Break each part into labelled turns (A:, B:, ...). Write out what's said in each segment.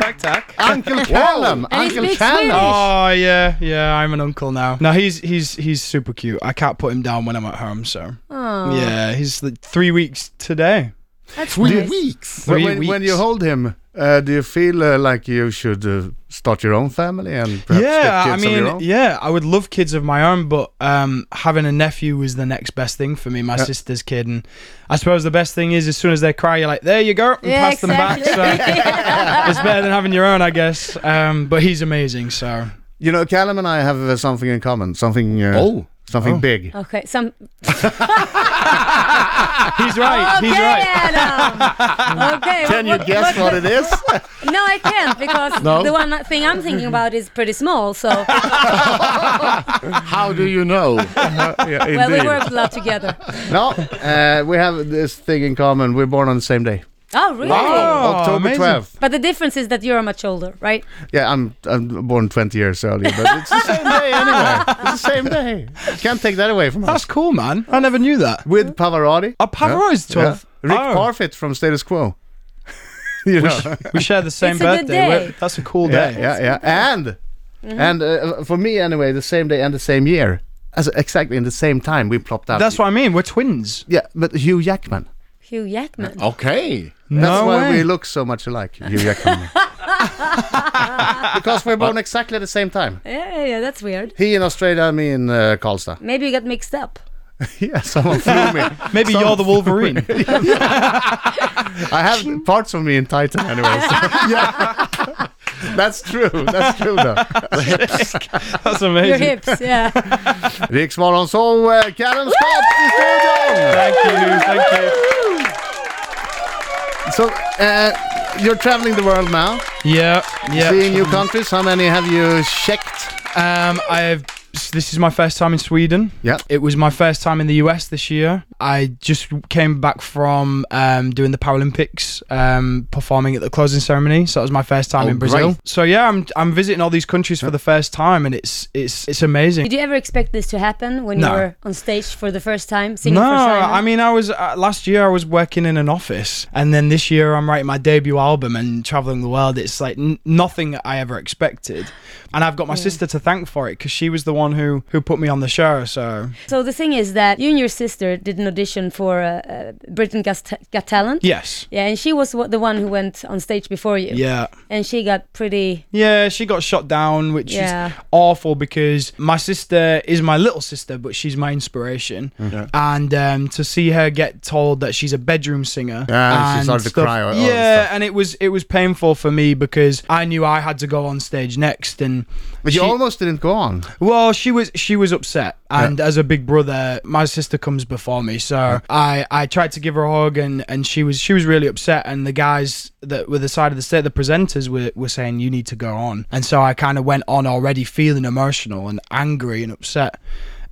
A: attack.
B: Uncle Callum.
C: And he
B: Uncle
C: speaks
B: Callum.
C: Swedish.
A: Oh yeah, yeah. I'm an uncle now. No, he's he's he's super cute. I can't put him down when I'm at home. So
C: Aw,
A: yeah, he's like three weeks today.
C: that's
B: Three
C: nice.
B: weeks.
A: Three
B: when, when you
A: weeks.
B: hold him, uh, do you feel uh, like you should uh, start your own family and perhaps
A: yeah,
B: get kids
A: I
B: of your
A: mean,
B: own?
A: yeah, I would love kids of my own, but um, having a nephew was the next best thing for me. My
B: Yeah.
A: sister's kid, and I suppose the best thing is as soon as they cry, you're like, there you go, and
C: Yeah,
A: pass them back. So it's better than having your own, I guess. Um, but he's amazing, so
B: You know, Callum and I have uh, something in common. Something. Uh,
D: Oh.
B: Something
A: Oh.
B: big.
C: Okay, some.
A: he's right.
C: okay,
A: He's right.
C: Adam. Okay.
B: Can you
C: what-
B: guess what it is?
C: No, I can't because
B: No?
C: the one thing I'm thinking about is pretty small. So
D: How do you know?
B: yeah,
C: well, we
B: indeed.
C: worked a lot together.
B: No, uh, we have this thing in common. We're born on the same day.
C: Oh, really?
A: Wow. Oh,
B: October
A: amazing.
B: 12th.
C: But the difference is that you're much older, right?
B: Yeah, I'm I'm born 20 years earlier, but it's the same day anyway. It's the same day. Can't take that away from us.
A: That's cool, man. I never knew that.
B: With Pavarotti.
A: Oh, Pavarotti's
B: Yeah.
A: 12th.
B: Rick
A: Oh.
B: Parfitt from Status Quo. you know.
A: We share the same
C: It's a
A: birthday.
C: good
A: We're-
C: day.
A: That's a cool
B: Yeah,
A: day.
B: yeah, yeah. And and uh, for me anyway, the same day and the same year. As exactly in the same time we plopped out.
A: That's what I mean. We're twins.
B: Yeah, but Hugh Jackman.
C: Hugh Jackman.
A: Oh.
D: Okay.
B: That's
A: no
B: why
A: way.
B: we look so much alike, Hugh Jackman. because we're born exactly at the same time.
C: Yeah, yeah, yeah, that's weird.
B: He in Australia, me in uh, Karlstad.
C: Maybe you got mixed up.
B: Yeah, someone flew me.
A: Maybe
B: Some-
A: you're the Wolverine.
B: I have parts of me in Titan, anyway. so- yeah, that's true. That's true. Though.
A: That's
C: Your
A: amazing.
C: hips, yeah.
B: Riksmorgon så eh, Callum Scott i studion.
A: Thank you. Thank you.
B: So uh, you're traveling the world now,
A: Yeah, yeah.
B: seeing new countries. How many have you checked?
A: Um, I have. This is my first time in Sweden.
B: Yeah.
A: It was my first time in the US this year. I just came back from um, doing the Paralympics, um, performing at the closing ceremony. So that was my first time
B: Oh,
A: in Brazil.
B: great.
A: So yeah, I'm I'm visiting all these countries for the first time, and it's it's it's amazing.
C: Did you ever expect this to happen when you
A: No.
C: were on stage for the first time singing
A: No,
C: for Simon?
A: I mean I was uh, last year I was working in an office, and then this year I'm writing my debut album and traveling the world. It's like n- nothing I ever expected, and I've got my sister to thank for it because she was the one who who put me on the show. So
C: so the thing is that you and your sister did an audition for uh, uh, Britain Got, Ta- Got Talent.
A: yes,
C: Yeah, and she was wa- the one who went on stage before you.
A: yeah.
C: And she got pretty.
A: Yeah, she got shot down, which
C: Yeah.
A: is awful because my sister is my little sister, but she's my inspiration. And um, to see her get told that she's a bedroom singer,
B: Yeah, Ah, she started to cry or- or
A: yeah,
B: stuff.
A: and it was it was painful for me because I knew I had to go on stage next, and
B: But you
A: she-
B: almost didn't go on.
A: well, she was she was upset, and as a big brother, my sister comes before me, so I I tried to give her a hug, and and she was she was really upset, and the guys that were the side of the state, the presenters were were saying you need to go on, and so I kind of went on already feeling emotional and angry and upset.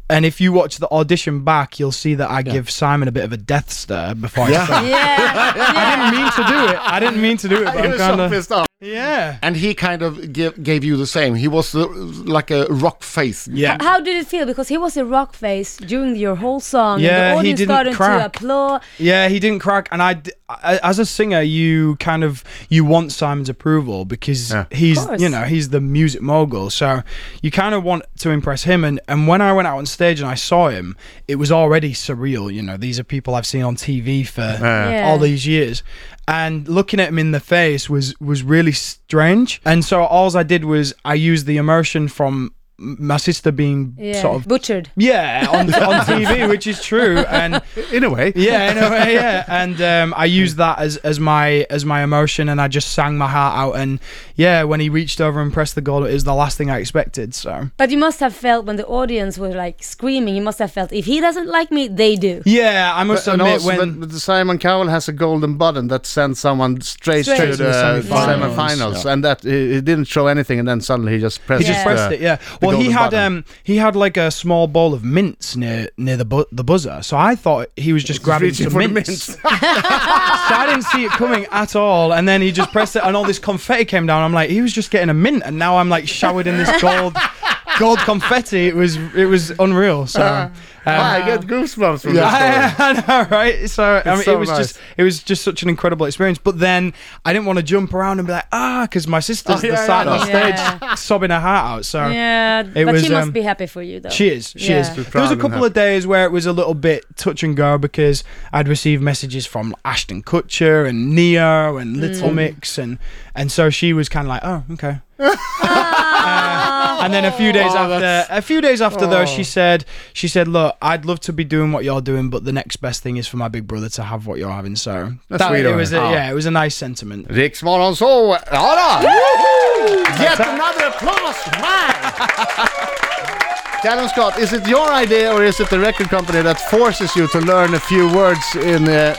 A: And if you watch the audition back, you'll see that I give Simon a bit of a death stare before. I
C: Yeah. yeah.
A: I didn't mean to do it. I didn't mean to do it,
D: Oh,
A: but I'm
B: You're so
A: kind of
B: pissed off.
A: yeah,
D: And he kind of give, gave you the same. He was the, like a rock face.
A: yeah.
C: How did it feel? Because he was a rock face during your whole song.
A: Yeah,
C: and
A: he
C: the audience
A: didn't
C: started to
A: crack.
C: applaud.
A: Yeah, he didn't crack, and I, d- I- as a singer, you kind of you want Simon's approval because
B: Yeah.
A: he's
C: Of course.
A: you know he's the music mogul, so you kind of want to impress him. And and when I went out on stage and I saw him, it was already surreal. You know, these are people I've seen on TV for
C: Yeah.
A: all these years. And looking at him in the face was was really strange. And so all I did was I used the emotion from m- my sister being
C: Yeah.
A: sort of
C: Butchered.
A: yeah on, on TV, which is true. And
B: In a way.
A: yeah, in a way, yeah. And um, I used that as, as my as my emotion, and I just sang my heart out. And yeah, when he reached over and pressed the goal, it was the last thing I expected. So
C: But you must have felt when the audience were like screaming, you must have felt, if he doesn't like me, they do.
A: yeah, I must
B: But, and
A: admit
B: also,
A: when
B: but- but Simon Cowell has a golden button that sends someone straight,
C: Straight
B: to
C: to
B: the
A: the semifinals.
B: semifinals, and that he, he didn't show anything, and then suddenly he just pressed.
A: he just
C: Yeah.
A: pressed
B: the-
A: it. Yeah. Well, he
B: golden
A: had
B: button.
A: um he had like a small bowl of mints near near the bu- the buzzer, so I thought he was just grabbing
B: reaching
A: some
B: for the
A: mints.
B: mints.
A: so I didn't see it coming at all, and then he just pressed it, and all this confetti came down. I'm like, he was just getting a mint, and now I'm like showered in this gold. gold confetti. It was it was unreal. So um,
B: Uh, I get goosebumps from
D: Yeah.
B: that
A: I, know, right? So I mean,
B: so
A: it was
B: nice.
A: just it was just such an incredible experience. But then I didn't want to jump around and be like ah, because my sister's
B: Oh,
A: the
B: yeah,
A: side
B: yeah,
A: of the
C: yeah.
A: stage sobbing her heart out. So.
C: yeah, but
A: was,
C: she must
A: um,
C: be happy for you though.
A: She is. She
C: Yeah.
A: is.
C: She's
A: There was
B: proud
A: a
B: and
A: couple of days where it was a little bit touch and go because I'd received messages from Ashton Kutcher and Neo and Little
B: Mm.
A: Mix and and so she was kind of like, oh, okay. Uh, and then a few days
D: Oh, that's-
A: after, a few days after though,
B: Oh.
A: she said, she said, look, I'd love to be doing what you're doing, but the next best thing is for my big brother to have what you're having. So
B: That's sweet
A: it
B: of Oh.
A: was, a,
B: her.
A: yeah, it was a nice sentiment.
B: story. Riksmorgon så. Ja då!
D: Yet another applause, man!
B: Callum Scott, is it your idea or is it the record company that forces you to learn a few words in uh,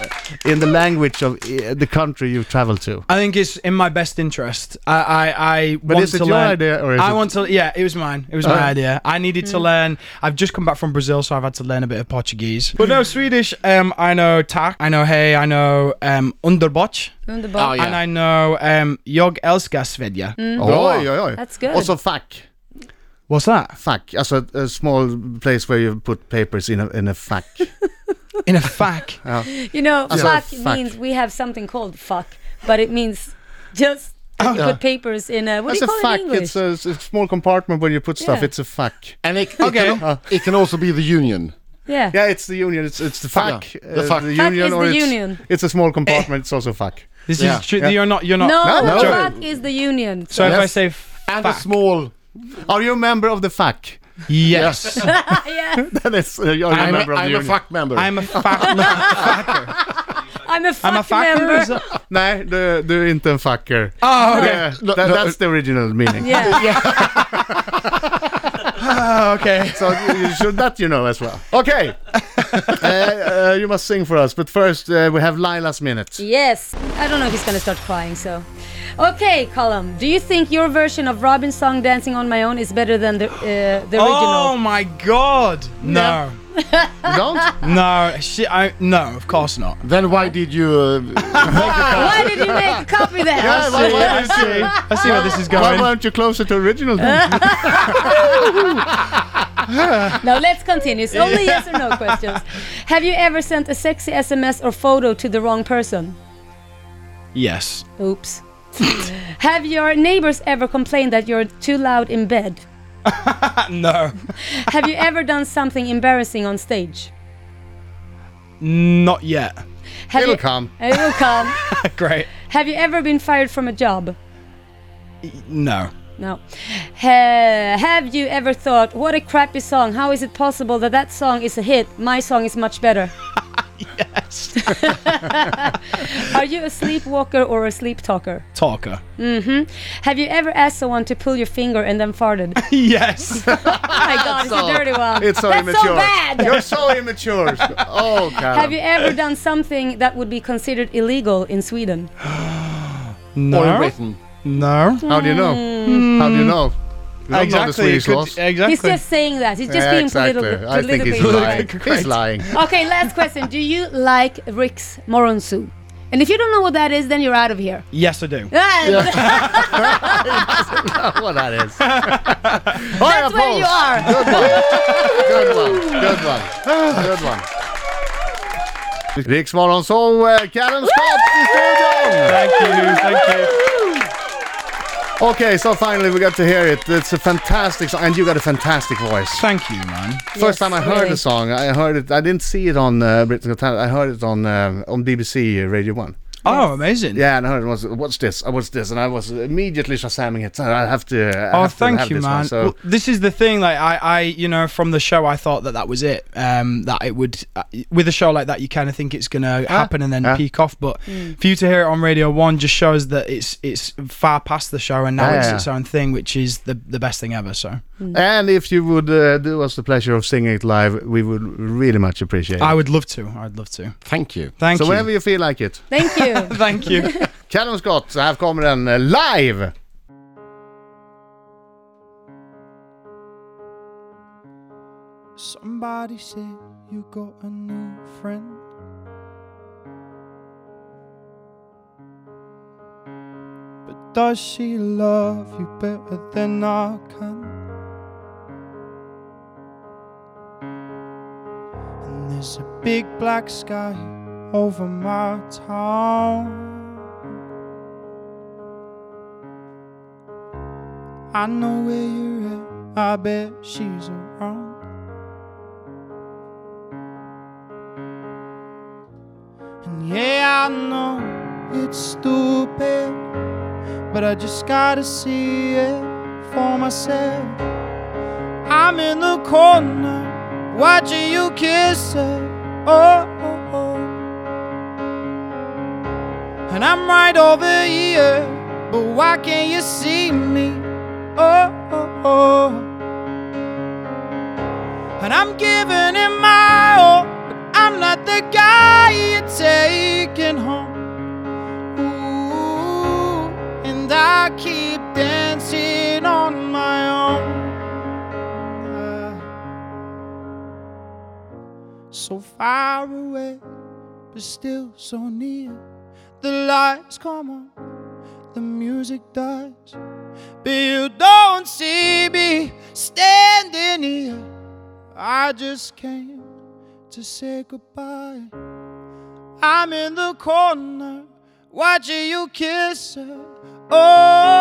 B: in the language of uh, the country you travel to?
A: I think it's in my best interest. I, I, I
B: But
A: want
B: is it
A: to
B: your
A: learn.
B: idea or is
A: I
B: it-
A: want to. Yeah, it was mine. It was
B: Oh.
A: my idea. I needed to learn. I've just come back from Brazil, so I've had to learn a bit of Portuguese. But no, Swedish. Um, I know tack. I know hey. I know um underbotch,
C: Underbar.
D: Oh, yeah. Oh.
A: and I know um jag älskar Svedja.
B: Hmm. Oj, oj, oj.
C: That's good.
B: Also fack.
A: What's that?
B: Fack, alltså a, a small place where you put papers in a, in a fack.
A: In a fact.
C: You know,
B: Yeah.
C: fuck,
B: So, fuck.
C: means we have something called fuck, but it means just that you
B: Yeah.
C: put papers in a what
B: That's
C: do
B: a
C: you call
B: fack.
C: it in English?
B: It's a, it's a small compartment where you put stuff.
C: Yeah.
B: It's a fack.
D: And it, it, can, al- Uh, it can also be the union.
C: yeah.
B: Yeah, it's the union. It's it's the Uh, fack.
D: Yeah, the fack.
C: Fack is the
B: it's,
C: union.
B: It's a small compartment. It's also fack.
A: This
D: Yeah.
A: is true.
B: Yeah.
A: You're not. You're
C: No,
A: not.
B: no,
C: fuck
B: no.
C: is the union.
A: So if
D: Yes.
A: I say
D: And a
A: fack,
D: small.
B: Are you a member of the fack?
A: yes,
C: yeah,
B: That is, uh, are you a
D: I'm, a,
B: member of the
D: I'm a
B: union?
D: fuck member.
A: I'm a fact.
C: I'm a fuck
A: I'm a fact.
C: member.
A: Is that-
B: Nej, du, du är inte en fucker.
A: Oh, okay.
B: Yeah, that, that's the original meaning.
C: Yeah.
A: Oh, okay.
B: So you you should that you know as well. Okay, uh, uh, you must sing for us. But first, uh, we have Lila's minute.
C: Yes. I don't know if he's gonna start crying. So, okay, Colum, do you think your version of Robin's song "Dancing on My Own" is better than the uh, the
A: Oh
C: original?
A: my God. No.
B: You don't?
A: No, she, I, no, of course not.
D: then why did you. Uh,
C: Why did you make a copy that?
B: Yeah, why- why
A: I
B: don't you-
A: see. I see where this is
B: Why
A: going.
B: weren't you closer to original
C: Uh,
B: then?
C: Now let's continue. It's only yes or no questions. Have you ever sent a sexy SMS or photo to the wrong person?
A: Yes.
C: Oops. Have your neighbors ever complained that you're too loud in bed?
A: No.
C: Have you ever done something embarrassing on stage?
A: Not yet.
C: Have
B: It'll
C: you,
B: come.
C: It will come.
A: Great.
C: Have you ever been fired from a job?
A: No.
C: No. Ha- have you ever thought, what a crappy song? How is it possible that that song is a hit? My song is much better.
A: Yes.
C: Are you a sleepwalker or a sleep talker?
A: Talker.
C: Have you ever asked someone to pull your finger and then farted?
A: Yes.
C: Oh my god, it's a dirty one.
B: It's so
C: That's
B: immature.
C: so bad.
B: You're so immature. Oh, Karen.
C: Have you ever done something that would be considered illegal in Sweden?
D: Or in
A: No.
D: Britain.
A: No.
B: How do you know?
C: Hmm.
B: How do you know? You don't know the
A: Exactly.
B: Swedish
A: Could-
B: laws.
C: He's
A: Exactly.
C: just saying that. He's just
B: Yeah,
C: being
B: exactly.
C: political.
B: I think he's
C: politically
B: lying.
C: correct.
B: he's lying.
C: Okay, last question. Do you like Rick's Moronsu? And if you don't know what that is, then you're out of here. Ah,
A: Yes, I do.
C: That's
B: what that is. That's
C: where you are.
B: Good one. Good one. Good one. Good one. Riksmorgon så, eh, Callum Scott i studion!
A: Thank you. Thank you.
B: Okay, so finally we got to hear it. It's a fantastic song, and you got a fantastic voice.
A: Thank you, man.
B: First
C: Yes,
B: time I heard
C: really.
B: the song, I heard it. I didn't see it on uh, Britain's Got Talent. I heard it on um on BBC Radio One.
A: Oh, amazing.
B: Yeah, and I heard it was what's this? Uh, What's this? And I was immediately shazamming it. So I have to. I
A: Oh,
B: have to have
A: thank you,
B: this
A: man.
B: One, so
A: Well, this is the thing. Like, I, I, you know, from the show, I thought that that was it. Um, that it would, uh, with a show like that, you kind of think it's gonna happen and then
B: Huh?
A: peak off. But for you to hear it on Radio One just shows that it's it's far past the show and now
B: Yeah,
A: it's
B: yeah.
A: its own thing, which is the the best thing ever. So
B: And if you would uh, do us the pleasure of singing it live, we would really much appreciate it.
A: I would love to. I'd love to.
D: Thank you.
A: Thank
B: so
A: you.
B: whenever you feel like it.
C: Thank you.
A: Thank you.
B: Callum Scott, här kommer den eh, live!
A: Somebody said you got a new friend. But does she love you better than I can?
E: big black sky over my town. I know where you're at, I bet she's around. And yeah, I know it's stupid, but I just gotta see it for myself. I'm in the corner watching you kiss her. Oh, oh, oh. and I'm right over here, but why can't you see me? Oh, oh, oh. and I'm giving it my all, but I'm not the guy you're taking home. Ooh, and I keep dancing on my own. Uh, So far away, but still so near. The lights come on, the music dies. But you don't see me standing here. I just came to say goodbye. I'm in the corner watching you kiss her. Oh.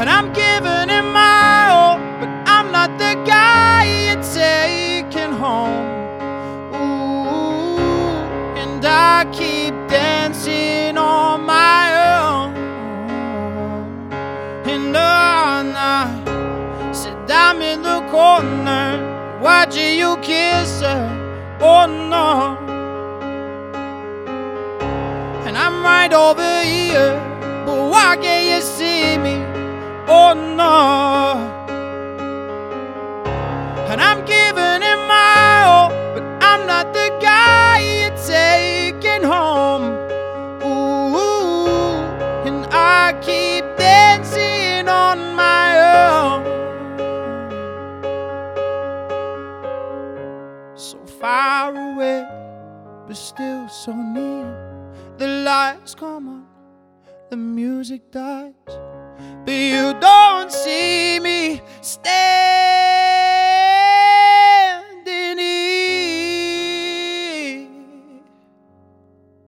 E: And I'm giving it my all, but I'm not the guy you're taking home. Ooh, and I keep dancing on my own. And I said I'm in the corner watching you kiss her. Oh no. And I'm right over here, but why can't you see me? oh no. And I'm giving it my all, but I'm not the guy you're taking home. Ooh, and I keep dancing on my own. So far away, but still so near. The lights come on, the music dies but you don't see me